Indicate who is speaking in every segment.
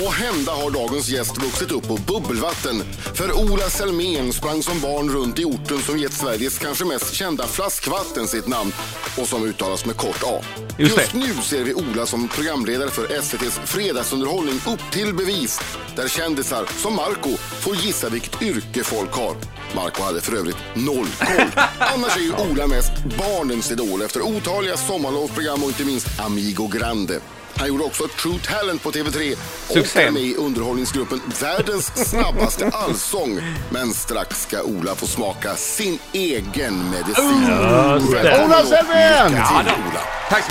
Speaker 1: Må hända har dagens gäst vuxit upp på bubbelvatten. För Ola Selmén sprang som barn runt i orten som gett Sveriges kanske mest kända flaskvatten sitt namn och som uttalas med kort A.
Speaker 2: Just det.
Speaker 1: Just nu ser vi Ola som programledare för SVTs fredagsunderhållning Upp till bevis där kändisar som Marco får gissa vilket yrke folk har. Marco hade för övrigt noll koll. Annars är ju Ola mest barnens idol efter otaliga sommarlovsprogram och inte minst Amigo Grande. Han gjorde också True Talent på TV3 och
Speaker 2: Succé.
Speaker 1: är med i underhållningsgruppen Världens snabbaste allsång. Men strax ska Ola få smaka sin egen medicin. Välkommen
Speaker 3: Ola
Speaker 1: och
Speaker 3: Selmén!
Speaker 1: lycka till, Ola.
Speaker 2: Tack så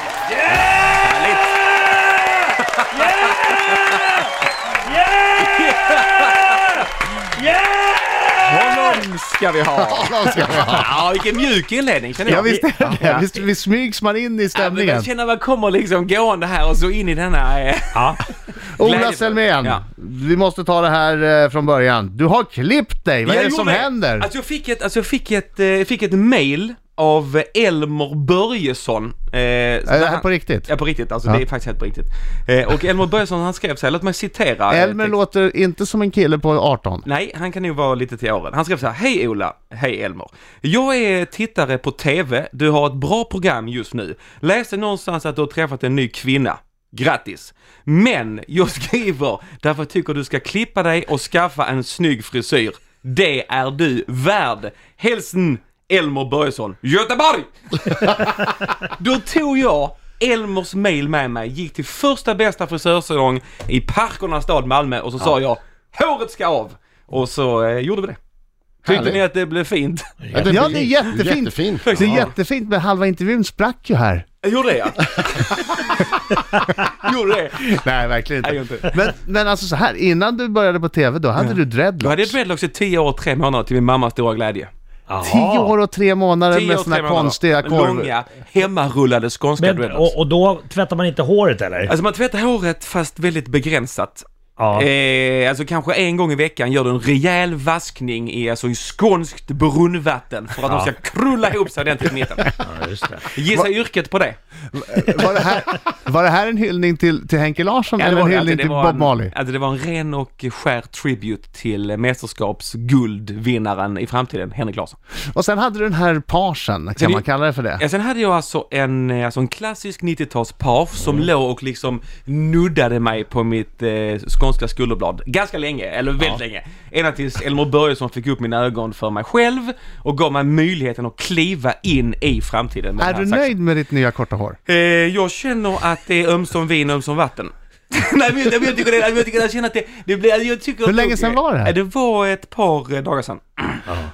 Speaker 2: Honom ska vi ha!
Speaker 3: Honom ska vi ha.
Speaker 2: Ja, vilken mjuk inledning känner jag.
Speaker 3: Ja visst är det.
Speaker 2: Ja.
Speaker 3: Visst, visst smygs man in i
Speaker 2: Ja, men
Speaker 3: stämningen.
Speaker 2: Jag känner vad kommer liksom gående här och så in i denna... Eh, ja.
Speaker 3: Ola Selmén,
Speaker 2: Ja.
Speaker 3: vi måste ta det här eh, från början. Du har klippt dig, vad är det
Speaker 2: Jag
Speaker 3: som
Speaker 2: gjorde-
Speaker 3: händer?
Speaker 2: Alltså jag fick ett, alltså jag fick ett, eh, fick ett mail av Elmer Börjesson. Eh,
Speaker 3: Är det här på riktigt?
Speaker 2: Ja på riktigt, alltså
Speaker 3: Typ. Ja.
Speaker 2: det är faktiskt helt på riktigt. Eh, och Elmer Börjesson han skrev så här, låt mig citera. eh,
Speaker 3: Elmer
Speaker 2: text-
Speaker 3: låter inte som en kille på 18.
Speaker 2: Nej, han kan nog vara lite till åren. Han skrev så här, hej Ola, hej Elmer. Jag är tittare på TV, du har ett bra program just nu. Läste någonstans att du har träffat en ny kvinna. Grattis! Men jag skriver därför jag tycker du ska klippa dig och skaffa en snygg frisyr. Det är du värd! Hälsn Elmer Börjesson, Göteborg! Då tog jag Elmers mail med mig, gick till första bästa frisörsalong i Parkernas stad Malmö och så sa jag Håret ska av! Och så eh, gjorde vi det. Tyckte
Speaker 1: Härligt.
Speaker 2: ni att det blev fint?
Speaker 3: Ja, det är jättefint.
Speaker 1: Jättefint.
Speaker 3: Det är jättefint men halva intervjun sprack ju här.
Speaker 2: Jag gjorde det ja. gjorde det.
Speaker 3: Nej, verkligen
Speaker 2: Nej,
Speaker 3: inte.
Speaker 2: inte.
Speaker 3: Men, men alltså så här, innan du började på TV då hade du
Speaker 2: Då hade jag
Speaker 3: dreadlocks.
Speaker 2: dreadlocks i 10 år och 3 månader till min mammas stora glädje.
Speaker 3: Tio år och tre månader
Speaker 2: 10
Speaker 3: med
Speaker 2: år,
Speaker 3: såna
Speaker 2: tre månader.
Speaker 3: konstiga korv...
Speaker 2: Långa, hemmarullade skånska
Speaker 4: Men,
Speaker 2: dreadlocks.
Speaker 4: och, och då tvättar man inte håret eller?
Speaker 2: Alltså man tvättar håret fast väldigt begränsat.
Speaker 4: ja.
Speaker 2: Eh, alltså kanske en gång i veckan gör du en rejäl vaskning i, alltså, i skånskt brunnvatten för att de ska krulla ihop sig ordentligt i mitten.
Speaker 4: ja, just det.
Speaker 2: Gissa yrket på det.
Speaker 3: Var det, här, var det här en hyllning till, till Henke Larsson
Speaker 2: Ja, det
Speaker 3: eller
Speaker 2: var
Speaker 3: en
Speaker 2: det.
Speaker 3: hyllning
Speaker 2: det
Speaker 3: till
Speaker 2: var
Speaker 3: Bob
Speaker 2: en-
Speaker 3: Marley?
Speaker 2: Alltså det var en ren och skär tribute till mästerskapsguldvinnaren i framtiden, Henrik Larsson.
Speaker 3: Och sen hade du den här parsen, kan
Speaker 2: det-
Speaker 3: man kalla det för det?
Speaker 2: Ja, sen hade jag alltså en, eh, alltså en klassisk 90-talspage som
Speaker 3: Mm.
Speaker 2: låg och liksom nuddade mig på mitt eh, skånska skulderblad. Ganska länge, eller väldigt länge. Ända tills Elmer Börjesson fick upp mina ögon för mig själv och gav mig möjligheten att kliva in i framtiden. med
Speaker 3: Är
Speaker 2: den här
Speaker 3: du
Speaker 2: saxen.
Speaker 3: nöjd med ditt nya korta hår?
Speaker 2: Eh, jag känner att det är ömsom vin ömsom vatten. Nej men jag, men jag tycker det, jag, tycker, jag känner att det, det blir, jag tycker...
Speaker 3: Hur länge sedan var det här?
Speaker 2: Eh, Det var ett par eh, dagar sedan.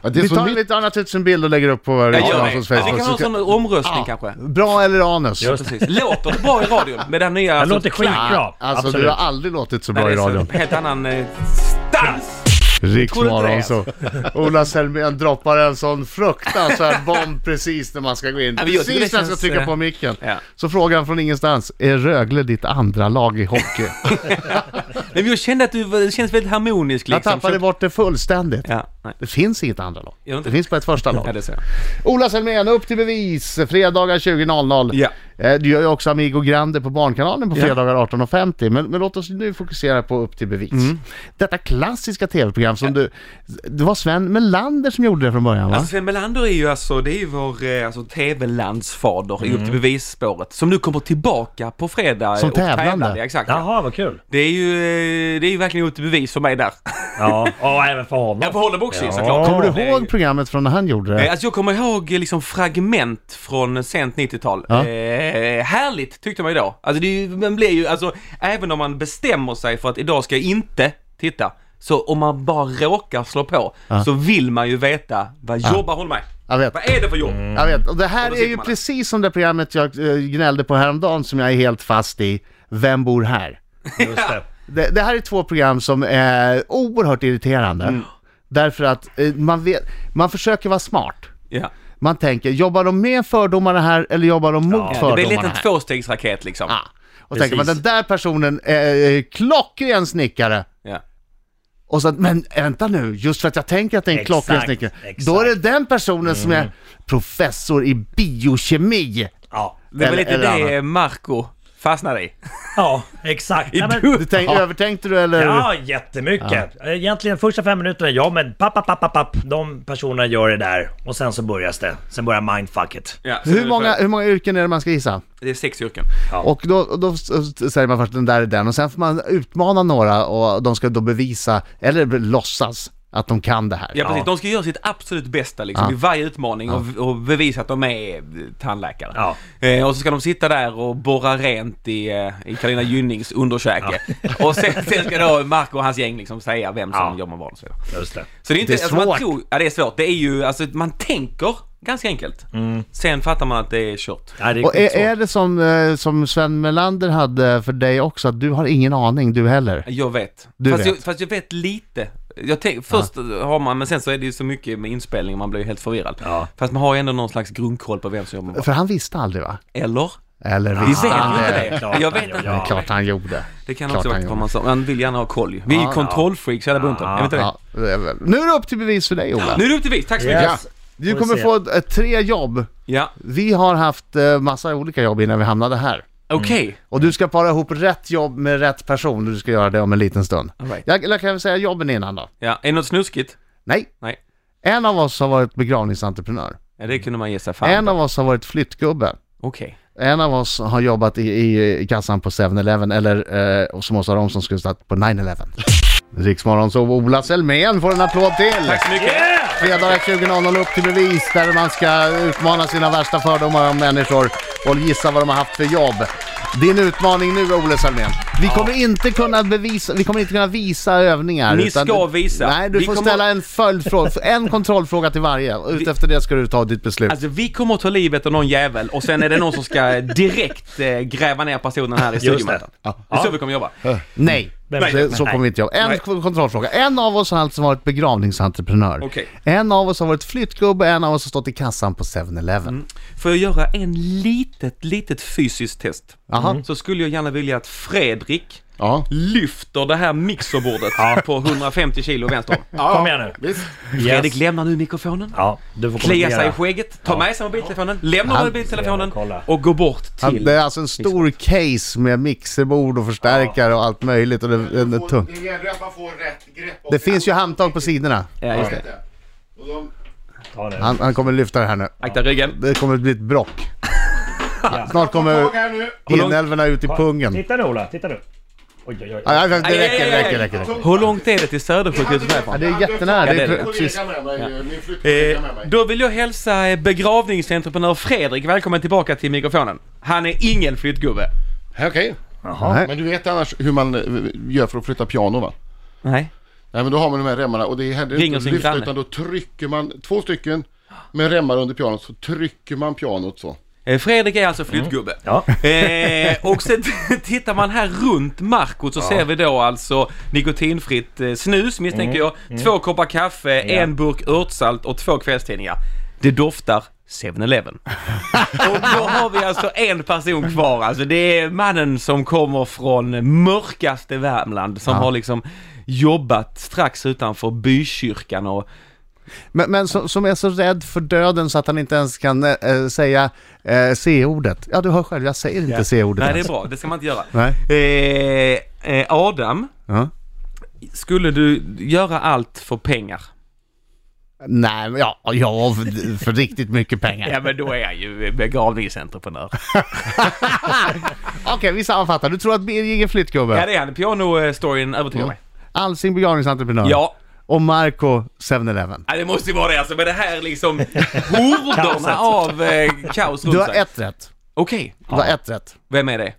Speaker 1: Ja, det är
Speaker 3: Vi
Speaker 1: så
Speaker 3: tar,
Speaker 1: nytt.
Speaker 3: vi tar naturligtvis en bild och lägger upp på vår
Speaker 2: Jag gör det.
Speaker 3: Janssons
Speaker 2: Alltså, vi kan
Speaker 3: Facebook.
Speaker 2: ha en
Speaker 3: Så
Speaker 2: sån omröstning kanske.
Speaker 3: ska- Bra eller anus?
Speaker 4: Just
Speaker 2: Precis. Låter det bra i radion med den nya... alltså-
Speaker 4: Det låter
Speaker 2: klang?
Speaker 4: skitbra.
Speaker 3: Alltså
Speaker 4: Absolut.
Speaker 3: du har aldrig låtit så
Speaker 2: Nej,
Speaker 3: bra
Speaker 2: det
Speaker 3: i
Speaker 2: är så-
Speaker 3: radion.
Speaker 2: Helt annan eh, stans! Tror du inte
Speaker 3: Riksmorgon
Speaker 2: det?
Speaker 3: så. Ola Selmén droppar en sån fruktansvärd bomb precis när man ska gå
Speaker 2: men
Speaker 3: in.
Speaker 2: jag tycker det
Speaker 3: Precis när jag ska
Speaker 2: känns,
Speaker 3: trycka
Speaker 2: eh,
Speaker 3: på micken.
Speaker 2: ja.
Speaker 3: Så frågan från ingenstans, är Rögle ditt andra lag i hockey?
Speaker 2: Nej, men jag kände att du var- det känns väldigt harmonisk
Speaker 3: Jag
Speaker 2: liksom.
Speaker 3: tappade
Speaker 2: Så-
Speaker 3: bort det fullständigt.
Speaker 2: Ja, nej.
Speaker 3: Det finns inget andra lag.
Speaker 2: Gör det inte?
Speaker 3: Det finns bara ett första
Speaker 2: Ja,
Speaker 3: lag.
Speaker 2: det ser jag.
Speaker 3: Ola Selmén, upp till bevis! Fredagar 20.00.
Speaker 2: Ja.
Speaker 3: Eh, Du gör ju också Amigo Grande på Barnkanalen på
Speaker 2: Ja.
Speaker 3: fredagar 18.50. Men, men låt oss nu fokusera på Upp till bevis.
Speaker 2: Mm.
Speaker 3: Detta klassiska tv-program som du... Det var Sven Melander som gjorde det från början va?
Speaker 2: Alltså Sven Melander är ju alltså, det är ju vår eh, alltså, tv-landsfader i Upp till bevisspåret som nu kommer tillbaka på fredag. eh,
Speaker 3: Som
Speaker 2: och
Speaker 3: tävlande.
Speaker 2: tävlar. Ja, exakt. ja.
Speaker 4: Jaha, vad kul.
Speaker 2: Det är ju, eh, det är ju verkligen upp till bevis för mig där.
Speaker 4: Ja, och även för honom.
Speaker 2: Jag behåller boxning
Speaker 4: Ja.
Speaker 2: såklart.
Speaker 3: Kommer
Speaker 2: Det
Speaker 3: du
Speaker 2: är
Speaker 3: ihåg
Speaker 2: ju-
Speaker 3: programmet från när han gjorde
Speaker 2: Eh,
Speaker 3: det?
Speaker 2: Alltså jag kommer ihåg eh, liksom fragment från sent 90-tal.
Speaker 3: Ja.
Speaker 2: Eh, härligt tyckte man ju då. Alltså det är ju, man blir ju, alltså även om man bestämmer sig för att idag ska jag inte titta. Så om man bara råkar slå på så vill man ju veta vad jobbar hon med?
Speaker 3: Jag vet.
Speaker 2: Vad är det för jobb?
Speaker 4: Mm.
Speaker 3: Jag vet. Och det här
Speaker 2: Och då
Speaker 3: är
Speaker 2: sitter
Speaker 3: ju
Speaker 2: man där.
Speaker 3: precis som det programmet jag eh, gnällde på häromdagen som jag är helt fast i. Vem bor här?
Speaker 4: Just det.
Speaker 3: Det, det här är två program som är oerhört irriterande.
Speaker 2: Mm.
Speaker 3: Därför att eh, man, vet, man försöker vara smart.
Speaker 2: Ja.
Speaker 3: Man tänker, jobbar de med fördomarna här eller jobbar de mot
Speaker 2: Ja, det blir lite
Speaker 3: fördomarna
Speaker 2: en
Speaker 3: här?
Speaker 2: tvåstegsraket liksom.
Speaker 3: Ja. Och tänker man,
Speaker 4: Precis.
Speaker 3: den där personen är eh, klockren snickare.
Speaker 2: Ja.
Speaker 3: Och så, att, men vänta nu, just för att jag tänker att det är en
Speaker 4: Exakt,
Speaker 3: klockren snickare,
Speaker 4: exakt.
Speaker 3: då är det den personen som är professor i biokemi.
Speaker 4: Ja.
Speaker 2: Det var
Speaker 3: Eller-
Speaker 2: lite
Speaker 3: eller
Speaker 2: det Marco fastnade i.
Speaker 4: Ja, exakt.
Speaker 2: I
Speaker 4: Nej, men-
Speaker 2: du-
Speaker 3: Du tänk, Övertänkte du eller?
Speaker 4: Ja, jättemycket. Eh, Egentligen första fem minuterna, ja men papp, papp, papp, papp, papp. De personerna gör det där och sen så börjas det. Sen börjar mindfucket.
Speaker 2: Ja, så
Speaker 3: Hur
Speaker 2: det-
Speaker 3: många, hur många yrken är det man ska gissa?
Speaker 2: Det är sex yrken.
Speaker 3: Och då, och då s- s- säger man först den där är den och sen får man utmana några och de ska då bevisa, eller låtsas, att de kan det här.
Speaker 2: Ja, precis.
Speaker 4: Ja.
Speaker 2: De ska göra sitt absolut bästa liksom,
Speaker 3: Ja.
Speaker 2: i varje utmaning och, och bevisa att de är eh, tandläkare.
Speaker 4: Ja.
Speaker 2: Eh, och så ska de sitta där och borra rent i, eh, i Carolina Gynnings underkäke. Och sen, sen ska då Marco och hans gäng liksom säga vem som
Speaker 4: Ja.
Speaker 2: gör man vad och så vidare.
Speaker 4: Just det.
Speaker 2: Så det är inte...
Speaker 3: Det är
Speaker 2: alltså, man
Speaker 3: svårt.
Speaker 2: tror, ja, det är svårt. Det är ju... Alltså, man tänker ganska enkelt. Sen fattar man att det är kört.
Speaker 4: Ja, det är
Speaker 3: Och är,
Speaker 4: skitsvårt.
Speaker 3: är det som, eh, som Sven Melander hade för dig också, att du har ingen aning du heller?
Speaker 2: Jag vet.
Speaker 3: Du
Speaker 2: fast,
Speaker 3: vet.
Speaker 2: Jag, fast jag vet lite. Jag tänk, först har man, men sen så är det ju så mycket med inspelning man blir ju helt förvirrad.
Speaker 4: Ja.
Speaker 2: Fast man har ju ändå någon slags grundkoll på vem som jobbar med vad.
Speaker 3: För han visste aldrig va?
Speaker 2: Eller?
Speaker 3: Eller
Speaker 2: Vi
Speaker 3: visste
Speaker 2: vet
Speaker 3: han
Speaker 2: ju
Speaker 3: det?
Speaker 2: inte
Speaker 4: det är
Speaker 2: det.
Speaker 4: klart
Speaker 2: jag
Speaker 4: han
Speaker 2: vet
Speaker 4: gör.
Speaker 2: inte.
Speaker 3: Det är klart han gjorde.
Speaker 2: Det kan
Speaker 3: Klart
Speaker 2: också vara
Speaker 3: han
Speaker 2: vad
Speaker 3: gjorde.
Speaker 2: man sa. Man vill gärna ha koll ju. Vi är ju
Speaker 3: Ja.
Speaker 2: kontrollfreaks hela bunten.
Speaker 4: Ja.
Speaker 2: Är vi inte det?
Speaker 3: Ja, det är väl- nu är det upp till bevis för dig Ola.
Speaker 2: Nu är det upp till bevis. Tack så mycket.
Speaker 3: Ja. Du
Speaker 4: Får vi
Speaker 3: kommer
Speaker 4: se.
Speaker 3: få eh, tre jobb.
Speaker 2: Ja.
Speaker 3: Vi har haft eh, massa olika jobb innan vi hamnade här.
Speaker 2: Okej.
Speaker 3: Och du ska para ihop rätt jobb med rätt person och du ska göra det om en liten stund.
Speaker 2: All right.
Speaker 3: Jag, jag kan väl säga jobben innan då?
Speaker 2: Ja. Är det något snuskigt?
Speaker 3: Nej.
Speaker 2: Nej.
Speaker 3: En av oss har varit begravningsentreprenör.
Speaker 2: Ja, det kunde man ge sig fan
Speaker 3: En
Speaker 2: på.
Speaker 3: av oss har varit flyttgubbe.
Speaker 2: Okej.
Speaker 3: En av oss har jobbat i, i, i kassan på 7-Eleven eller eh, och som Åsa Romson skulle stått på 9-Eleven. Riksmorgon så Ola Selmén får en applåd till!
Speaker 2: Tack så mycket.
Speaker 3: Fredagar 20.00 upp till bevis där man ska utmana sina värsta fördomar om människor och gissa vad de har haft för jobb. Din utmaning nu Olle Salmén. Vi kommer inte kunna bevisa, vi kommer inte kunna visa övningar.
Speaker 2: Ni
Speaker 3: utan
Speaker 2: ska
Speaker 3: du,
Speaker 2: visa.
Speaker 3: Nej, du
Speaker 2: Vi
Speaker 3: får
Speaker 2: kommer-
Speaker 3: ställa en följdfråga, en kontrollfråga till varje. Och Utefter det ska du ta ditt beslut.
Speaker 2: Alltså vi kommer att ta livet av någon jävel och sen är det någon som ska direkt eh, gräva ner personen här i
Speaker 4: det.
Speaker 2: studion. Det. det är så vi kommer jobba.
Speaker 3: Nej,
Speaker 4: Nej,
Speaker 3: det, så
Speaker 4: nej.
Speaker 3: kommer vi inte göra. En
Speaker 2: Nej.
Speaker 3: kontrollfråga. En av oss har alltså varit begravningsentreprenör.
Speaker 2: Okej.
Speaker 3: En av oss har varit flyttgubbe, en av oss har stått i kassan på 7-Eleven.
Speaker 2: Får jag göra en litet, litet fysiskt test?
Speaker 3: Jaha.
Speaker 2: Så skulle jag gärna vilja att Fredrik
Speaker 3: Ja.
Speaker 2: lyfter det här mixerbordet på 150 kilo vänster.
Speaker 1: Ja,
Speaker 4: Kom igen nu.
Speaker 1: Visst.
Speaker 2: Fredrik
Speaker 4: Yes.
Speaker 2: lämnar nu mikrofonen.
Speaker 4: Ja, du får
Speaker 2: Kliar sig i
Speaker 4: kommentera.
Speaker 2: skägget, tar med sig mobiltelefonen, lämnar
Speaker 3: Han-
Speaker 2: mobiltelefonen
Speaker 4: Kolla.
Speaker 2: och går bort
Speaker 3: Ja,
Speaker 2: till...
Speaker 3: Det är alltså en stor case med mixerbord och förstärkare och allt möjligt och det, den är tung.
Speaker 1: Det gäller att man får rätt grepp.
Speaker 3: Det finns ju handtag på sidorna.
Speaker 2: Ja, just det.
Speaker 4: Ta det.
Speaker 3: Han, han kommer lyfta det här nu.
Speaker 2: Akta ryggen.
Speaker 3: Det kommer bli ett brock. Snart kommer
Speaker 1: nu.
Speaker 3: inälvorna ut i pungen.
Speaker 4: Titta nu Ola, titta nu. Oj, oj, oj.
Speaker 3: Ja, ja, Det räcker, det räcker, det räcker. det räcker.
Speaker 2: Hur långt är det till Södersjukhuset
Speaker 3: Ja,
Speaker 2: härifrån?
Speaker 3: det är jättenära. Det
Speaker 2: Ja, det är
Speaker 3: är
Speaker 2: det.
Speaker 3: precis.
Speaker 2: Eh, då vill jag hälsa eh, begravningsentreprenör Fredrik välkommen tillbaka till mikrofonen. Han är ingen flyttgubbe.
Speaker 1: Okej,
Speaker 3: Nej.
Speaker 1: men du vet annars hur man eh, gör för att flytta piano va?
Speaker 2: Nej.
Speaker 1: Nej men då har man de här remmarna och det händer
Speaker 2: Ringer
Speaker 1: inte att
Speaker 2: sin
Speaker 1: lyfta
Speaker 2: granne.
Speaker 1: utan då trycker man två stycken med remmar under pianot så trycker man pianot så.
Speaker 2: Eh, Fredrik är alltså flyttgubbe.
Speaker 4: Ja.
Speaker 2: Eh, och sen tittar man här runt Marco så ser vi då alltså nikotinfritt eh, snus misstänker jag, två koppar kaffe, en burk örtsalt och två kvällstidningar. Det doftar 7-Eleven. och då har vi alltså en person kvar alltså. Det är mannen som kommer från mörkaste Värmland som har liksom jobbat strax utanför bykyrkan och
Speaker 3: Men, men som, som är så rädd för döden så att han inte ens kan eh, säga eh, C-ordet. Ja, du hör själv, jag säger inte C-ordet.
Speaker 2: Nej det är
Speaker 3: ens.
Speaker 2: bra, det ska man inte göra.
Speaker 3: Nej.
Speaker 2: Eh, eh, Adam,
Speaker 3: Ja.
Speaker 2: skulle du göra allt för pengar?
Speaker 3: Nej, men ja, ja, för, för riktigt mycket pengar.
Speaker 2: Ja men då är jag ju begravningsentreprenör.
Speaker 3: Okej, vi sammanfattar. Du tror att Birging är flyttgubbe?
Speaker 2: Ja det är han, piano-storyn övertygar mig.
Speaker 3: Alsing begravningsentreprenör?
Speaker 2: Ja,
Speaker 3: Och Marco 7-Eleven.
Speaker 2: ja, det måste ju vara det alltså med det här liksom horderna av eh, kaos
Speaker 3: Du
Speaker 2: runt
Speaker 3: har
Speaker 2: sig.
Speaker 3: ett rätt.
Speaker 2: Okej,
Speaker 3: Du har ett rätt.
Speaker 2: vem är det?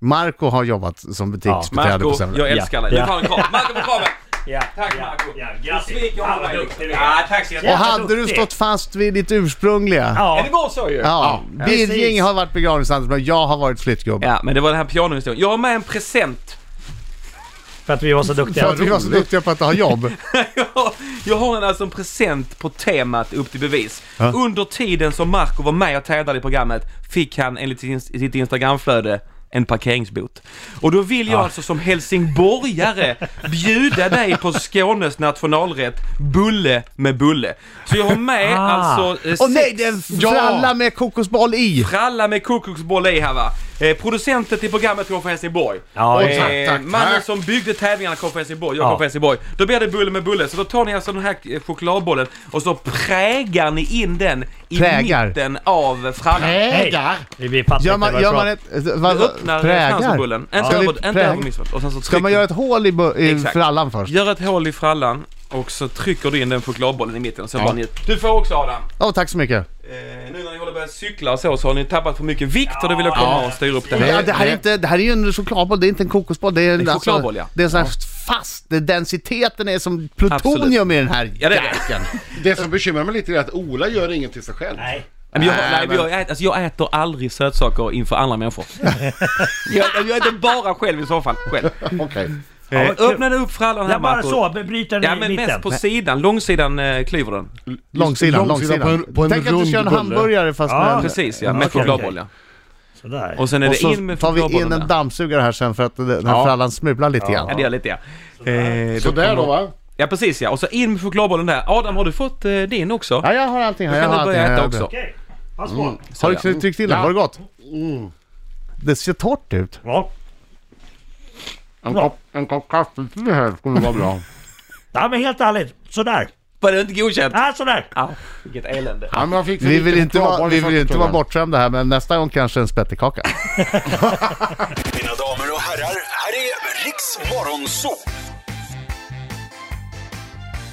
Speaker 3: Marco har jobbat som butiksbiträde
Speaker 2: Marco,
Speaker 3: på 7-Eleven.
Speaker 2: jag älskar dig. Du
Speaker 4: Ja.
Speaker 2: får en kram. Marco på kramen!
Speaker 4: Ja,
Speaker 2: Tack
Speaker 4: ja,
Speaker 2: Marco!
Speaker 4: Ja,
Speaker 2: Du
Speaker 4: grattis.
Speaker 2: sviker
Speaker 4: Fan, vad
Speaker 2: honom.
Speaker 4: duktig du är.
Speaker 2: Ja, tack så
Speaker 3: Och
Speaker 2: jättemycket.
Speaker 3: hade du
Speaker 4: duktig.
Speaker 3: stått fast vid ditt ursprungliga?
Speaker 2: Är
Speaker 4: Ja,
Speaker 2: det var så ju?
Speaker 3: Ja, Birging
Speaker 4: precis.
Speaker 3: har varit begravningsentreprenör, jag har varit flyttgubbe.
Speaker 2: Ja, men det var den här pianohistorien. Jag har med en present.
Speaker 4: för att vi var så
Speaker 3: För
Speaker 4: duktiga.
Speaker 3: att vi var så duktiga på att ha jobb.
Speaker 2: Jag har- Jag har en, alltså en present på temat Upp till bevis. Under tiden som Marco var med och tävlade i programmet fick han enligt sin- sitt Instagramflöde en parkeringsbot. Och då vill jag alltså som helsingborgare bjuda dig på Skånes nationalrätt bulle med bulle. Så jag har med
Speaker 4: Ah.
Speaker 2: alltså... eh,
Speaker 3: Och nej,
Speaker 2: sex
Speaker 3: det är en fralla med kokosboll i!
Speaker 2: Fralla med kokosboll i här va. Eh, producenten till programmet kom från Helsingborg.
Speaker 4: Ja,
Speaker 2: Och,
Speaker 4: tack,
Speaker 2: eh,
Speaker 3: tack, tack.
Speaker 2: Mannen som byggde tävlingarna kom från Helsingborg. Jag
Speaker 4: Ja.
Speaker 2: kom från Helsingborg. Då blir det bulle med bulle. Så då tar ni alltså den här eh, chokladbollen och så prägar ni in den i
Speaker 3: Prägar.
Speaker 2: mitten av frallan.
Speaker 3: Prägar!
Speaker 4: Vi, vi fattar
Speaker 3: Gör
Speaker 4: inte vad
Speaker 3: man,
Speaker 4: du
Speaker 3: gör man
Speaker 4: pratar-
Speaker 3: ett... eh, Vad,
Speaker 2: Du öppnar franskbullen. Inte
Speaker 3: Ska, vi
Speaker 2: över, inte över
Speaker 3: präg...
Speaker 2: missförstånd. Och sen så
Speaker 3: Ska man
Speaker 2: trycker-
Speaker 3: göra ett hål i, bu- i
Speaker 2: Exakt.
Speaker 3: frallan först?
Speaker 2: Gör ett hål i frallan och så trycker du in den chokladbollen i mitten och sen
Speaker 3: Ja.
Speaker 2: bara njut. Du får också Adam.
Speaker 3: Åh, tack så mycket.
Speaker 2: Eh, nu när ni håller på att cykla och så, så har ni tappat för mycket vikt och då vill jag komma och styra upp det här.
Speaker 3: Ja, det, här är
Speaker 1: det-
Speaker 3: inte, det här är ju en chokladboll, det är inte en kokosboll. Det är en alltså,
Speaker 2: en chokladboll, ja.
Speaker 3: Det är en sån här fast, det, densiteten är som plutonium i den här
Speaker 2: Ja, det är det.
Speaker 3: jäkeln.
Speaker 1: Det som bekymrar mig lite är att Ola gör inget till sig själv.
Speaker 4: Nej.
Speaker 2: Nej, men jag,
Speaker 1: Nej,
Speaker 2: nej, men jag, äter, alltså jag äter aldrig sötsaker inför andra människor. jag, jag äter bara själv i så fall.
Speaker 3: Eh,
Speaker 2: Själv.
Speaker 1: Okej.
Speaker 2: Ja,
Speaker 4: Eh,
Speaker 2: öppna nu upp frallan här
Speaker 4: Ja, bara
Speaker 2: Marco.
Speaker 4: så, bryter den
Speaker 2: Ja
Speaker 4: i
Speaker 2: men
Speaker 4: mitten.
Speaker 2: mest på sidan, långsidan eh, klyver den.
Speaker 3: Långsidan,
Speaker 5: Långsidan
Speaker 3: långsidan.
Speaker 5: på en- på en
Speaker 3: Tänk att du
Speaker 5: rund
Speaker 3: kör en
Speaker 5: bulle.
Speaker 3: hamburgare fast
Speaker 4: Ja,
Speaker 3: med en...
Speaker 2: Precis ja, med
Speaker 4: okej,
Speaker 2: chokladboll ja.
Speaker 4: Sådär.
Speaker 2: Och sen är
Speaker 3: Och
Speaker 2: det
Speaker 3: så
Speaker 2: in med
Speaker 3: tar vi in
Speaker 2: chokladbollen
Speaker 3: en
Speaker 2: där.
Speaker 3: dammsugare här sen för att den här
Speaker 2: Ja.
Speaker 3: frallan smular lite grann.
Speaker 2: Ja det gör lite ja. Eh, då-
Speaker 1: Sådär då va?
Speaker 2: ja precis ja, och så in med chokladbollen där. Adam har du fått eh, din också?
Speaker 3: Ja, jag har allting här.
Speaker 2: Då
Speaker 3: Jag
Speaker 2: kan
Speaker 3: har
Speaker 2: du
Speaker 3: allting
Speaker 2: börja äta
Speaker 3: här. jag har
Speaker 2: också.
Speaker 3: det.
Speaker 4: Okej, pass på.
Speaker 2: Så,
Speaker 3: Har
Speaker 2: ja.
Speaker 3: du tryckt till den?
Speaker 1: Ja.
Speaker 3: Var det gott? Det ser torrt ut.
Speaker 4: Ja.
Speaker 1: En kopp, en kopp kaffe till det här skulle vara bra.
Speaker 4: ja, men helt ärligt. Sådär.
Speaker 2: Var det inte godkänt?
Speaker 4: Ja, sådär.
Speaker 2: Ah, vilket elände.
Speaker 1: Ja, men jag fick för
Speaker 3: Vi
Speaker 1: lite
Speaker 3: vill inte vara,
Speaker 1: chokladboll i
Speaker 3: vi vill inte vara
Speaker 1: förstånden.
Speaker 3: bortskämda här, men nästa gång kanske en spettekaka.
Speaker 6: Mina damer och herrar, här är Riks Morgonzoo!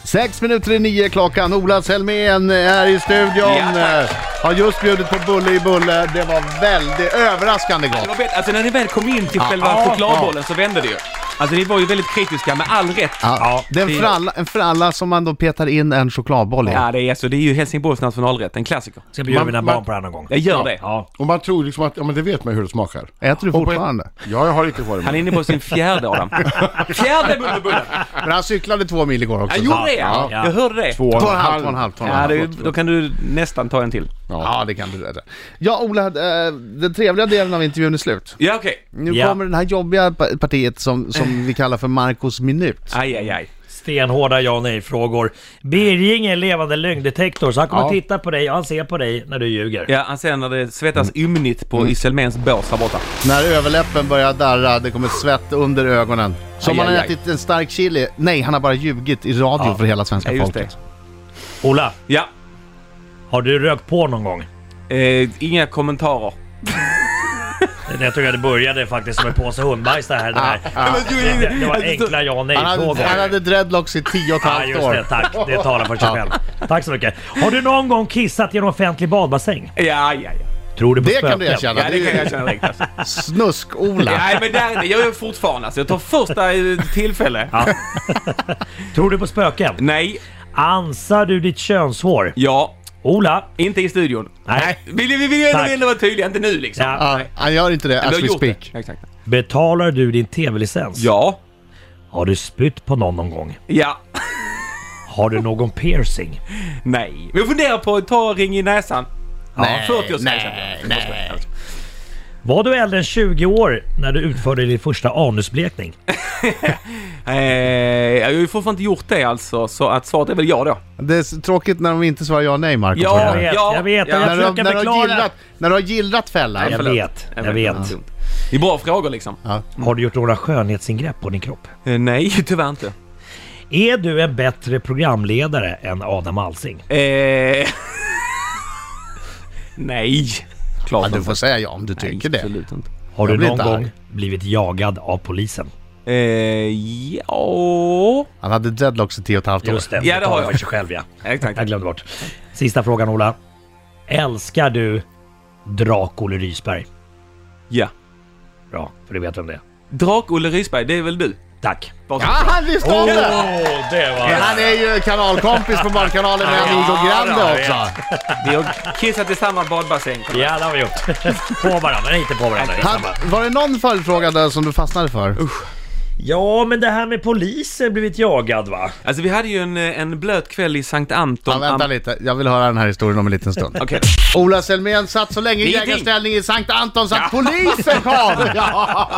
Speaker 3: Sex minuter i nio klockan. Ola Selmén är i studion.
Speaker 2: Ja, tack.
Speaker 3: Eh, har just bjudit på bulle i bulle. Det var väldigt överraskande
Speaker 2: Det
Speaker 3: gott.
Speaker 2: var bättre. Alltså när ni väl kom in till själva
Speaker 3: ja,
Speaker 2: chokladbollen så vände det ju. Alltså ni var ju väldigt kritiska med all rätt.
Speaker 3: Ja, det är en
Speaker 2: det-
Speaker 3: fralla, en fralla som man då petar in en chokladboll i.
Speaker 2: Ja, det är, alltså, det är ju Helsingborgs nationalrätt, en klassiker.
Speaker 4: Ska bjuda
Speaker 1: Man-
Speaker 4: mina
Speaker 1: man-
Speaker 4: barn på det här någon gång.
Speaker 2: Jag gör det.
Speaker 4: Ja.
Speaker 1: Och man tror liksom att, ja men det vet man ju hur det smakar.
Speaker 3: Äter du
Speaker 1: Och på-
Speaker 3: fortfarande?
Speaker 1: Ja, jag har inte kvar det.
Speaker 2: Han är inne på sin fjärde Adam. Fjärde bullebullen!
Speaker 3: Men han cyklade två mil igår också.
Speaker 2: Jag gjorde det!
Speaker 1: Ja.
Speaker 2: Jag hörde det.
Speaker 1: Två
Speaker 3: Två och en halv, två och en halv, två och en
Speaker 2: Ja,
Speaker 3: halv.
Speaker 2: det, då kan du nästan ta en till.
Speaker 3: Ja, det kan du rädda. Ja, Ola, eh, den trevliga delen av intervjun är slut.
Speaker 2: Ja, okej.
Speaker 3: Nu
Speaker 4: Ja.
Speaker 3: kommer det här jobbiga pa- partiet som, som vi kallar för Marcos minut.
Speaker 2: Aj, aj, aj.
Speaker 4: Stenhårda ja och nej-frågor. Birging är en levande lögndetektor, så han kommer
Speaker 1: Ja.
Speaker 4: titta på dig och han ser på dig när du ljuger.
Speaker 2: Ja, han ser när det svettas ymnigt på Iselméns bås här borta.
Speaker 3: När överläppen börjar darra, det kommer svett under ögonen. Som
Speaker 2: Aj,
Speaker 3: han har
Speaker 2: aj, aj.
Speaker 3: ätit en stark chili. Nej, han har bara ljugit i radio för hela svenska
Speaker 2: Ja, just
Speaker 3: folket.
Speaker 2: det.
Speaker 4: Ola,
Speaker 2: Ja.
Speaker 4: har du rökt på någon gång?
Speaker 2: Eh, inga kommentarer.
Speaker 4: Jag tror jag det började faktiskt som en påse hundbajs det här. Det, här. det, det var enkla ja och
Speaker 3: Ah, Han hade,
Speaker 4: nej-frågor.
Speaker 3: han hade dreadlocks i tio och
Speaker 2: Ah,
Speaker 3: ett
Speaker 4: Ja,
Speaker 3: halvt
Speaker 4: just det.
Speaker 3: år.
Speaker 4: Tack. Det talar för sig själv. Tack så mycket. Har du någon gång kissat i en offentlig badbassäng?
Speaker 2: Ja, ja, ja.
Speaker 4: Tror du på
Speaker 3: Det
Speaker 4: spöken?
Speaker 3: kan du erkänna.
Speaker 2: Ja,
Speaker 3: Det
Speaker 2: det kan
Speaker 3: är
Speaker 2: jag känna direkt alltså.
Speaker 3: Snusk-Ola.
Speaker 2: Nej, men där, det gör jag fortfarande alltså. Jag tar första eh, tillfälle.
Speaker 4: Tror du på spöken?
Speaker 2: Nej,
Speaker 4: Ansar du ditt könshår?
Speaker 2: ja,
Speaker 4: Ola?
Speaker 2: inte i studion.
Speaker 4: Nej.
Speaker 2: Vill vi vill ju ändå-
Speaker 4: Tack.
Speaker 2: vill ändå vara tydliga, inte nu liksom.
Speaker 4: Ja.
Speaker 3: Ja, Ah, han gör inte det
Speaker 2: Vi
Speaker 3: as
Speaker 2: har
Speaker 3: we
Speaker 2: gjort
Speaker 3: speak.
Speaker 2: det. Exakt.
Speaker 4: Betalar du din tv-licens?
Speaker 2: Ja,
Speaker 4: Har du spytt på någon någon gång?
Speaker 2: ja,
Speaker 4: Har du någon piercing?
Speaker 2: nej. Men jag funderar på att ta ring i näsan.
Speaker 3: Nej,
Speaker 2: 40 års
Speaker 3: nej, nej.
Speaker 4: Var du äldre än 20 år när du utförde din första anusblekning?
Speaker 2: Eh, jag har ju fortfarande inte gjort det alltså, så att svaret är väl ja då.
Speaker 3: Det är s- tråkigt när de inte svarar ja nej, Marco.
Speaker 2: Ja,
Speaker 3: på det här.
Speaker 4: Jag vet,
Speaker 2: Ja,
Speaker 4: jag vet.
Speaker 2: ja.
Speaker 4: Jag
Speaker 3: När du, har-
Speaker 4: försöker
Speaker 3: när, du har
Speaker 4: förklara.
Speaker 3: gillrat, när du har gillrat fällan.
Speaker 4: Jag
Speaker 2: Förlåt.
Speaker 4: vet, jag vet.
Speaker 2: dumt. Det är bra frågor liksom.
Speaker 4: Har du gjort några skönhetsingrepp på din kropp?
Speaker 2: Eh, nej, tyvärr inte.
Speaker 4: Är du en bättre programledare än Adam Alsing?
Speaker 2: Eh, nej. Klart
Speaker 3: Ja, du
Speaker 2: inte.
Speaker 3: får säga ja om du tycker
Speaker 2: nej,
Speaker 3: det.
Speaker 2: Absolut inte.
Speaker 4: Har
Speaker 3: Jag
Speaker 4: du
Speaker 3: blir
Speaker 4: någon
Speaker 3: inte arg.
Speaker 4: gång blivit jagad av polisen?
Speaker 2: Eh, ja...
Speaker 3: Han hade dreadlocks i tio och ett halvt år.
Speaker 4: Just det,
Speaker 2: Ja, det har
Speaker 4: talar
Speaker 2: jag.
Speaker 4: för sig själv ja.
Speaker 2: Exakt.
Speaker 4: Jag glömde bort. Sista frågan Ola. Älskar du Drak-Olle Rysberg?
Speaker 2: Ja.
Speaker 4: Bra, för du vet vem det är.
Speaker 2: Drak-Olle Rysberg, det är väl du?
Speaker 4: Tack!
Speaker 2: Bara så-
Speaker 3: Ja, han visste om det!
Speaker 4: det var...
Speaker 3: Han är ju kanalkompis på Barnkanalen med Amigo Grande också.
Speaker 2: Vi har kissat i samma badbassäng.
Speaker 4: Ja, det har vi gjort. På varandra, nej inte på varandra.
Speaker 3: Han, var det någon följdfråga där som du fastnade för?
Speaker 4: Ja, men det här med poliser blivit jagad va?
Speaker 2: Alltså vi hade ju en, eh, en blöt kväll i Sankt Anton.
Speaker 3: Ja, vänta
Speaker 2: Am-
Speaker 3: lite, jag vill höra den här historien om en liten stund.
Speaker 2: Okej.
Speaker 3: Ola Selmén satt så länge i
Speaker 2: Ingenting.
Speaker 3: jägarställning i Sankt Anton så att polisen kom! Ja.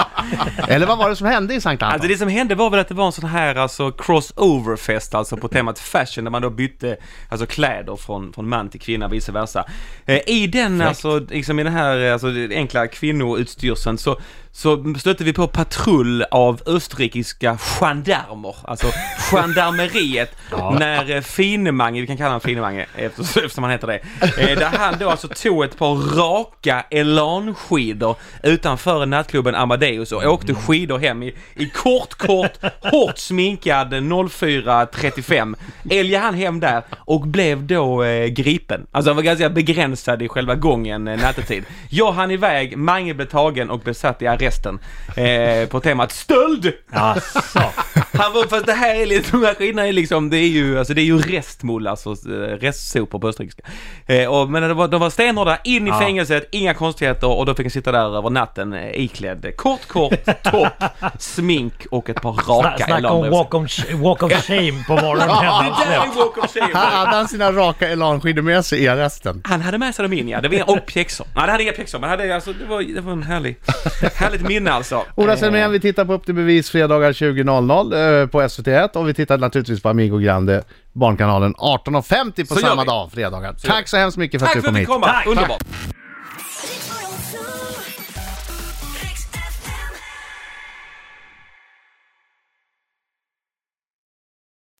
Speaker 3: Eller vad var det som hände i Sankt Anton?
Speaker 2: Alltså det som hände var väl att det var en sån här alltså crossover-fest alltså på temat fashion där man då bytte alltså kläder från, från man till kvinna vice versa. Eh, I den alltså, liksom i den här eh, alltså, den enkla kvinnoutstyrseln så, så stötte vi på patrull av österrikiska gendarmer, alltså gendarmeriet, när eh, Finemange, vi kan kalla honom Finemange eftersom, eftersom han heter det, eh, där han då alltså tog ett par raka elanskidor utanför nattklubben Amadeus och åkte skidor hem i, i kort, kort, hårt sminkad 04.35. Älgade han hem där och blev då eh, gripen. Alltså han var ganska begränsad i själva gången eh, nattetid. Jag hann iväg, Mange blev tagen och blev satt i arresten eh, på temat stöld!
Speaker 4: Alltså.
Speaker 2: Han var, fast det här är lite, de här skillnaderna är liksom, det är ju, alltså det är ju restmull, alltså eh, restsopor på österrikiska. Eh, och, men de var, de var stenhårda, in i fängelset, inga konstigheter och då fick jag sitta där över natten eh, iklädd kort, kort, topp, smink och ett par
Speaker 4: Sna-
Speaker 2: raka
Speaker 4: Snacka om
Speaker 2: elanbröd.
Speaker 4: walk, on sh- walk of shame på
Speaker 2: Ah, Det
Speaker 4: morgonen.
Speaker 2: där är walk of shame.
Speaker 3: Här hade han sina raka elanskidor med sig i arresten.
Speaker 2: Han hade med sig dem in ja, det var inga, och pjäxor. Nej det hade inga pjäxor, men hade, alltså, det, var, det var en härlig, härligt minne alltså.
Speaker 3: Ola Selmén, vi tittar på Upp till bevis fredagar 20.00 eh, på SVT1 och vi tittar naturligtvis på Amigo Grande, Barnkanalen 18.50 på
Speaker 2: Så gör
Speaker 3: samma
Speaker 2: vi.
Speaker 3: dag, fredagar.
Speaker 2: gör
Speaker 3: Tack så hemskt mycket för att
Speaker 2: Tack
Speaker 3: du
Speaker 2: för att
Speaker 3: kom
Speaker 2: vi kom,
Speaker 3: hit.
Speaker 4: Tack.
Speaker 2: underbart.
Speaker 5: Rick 102.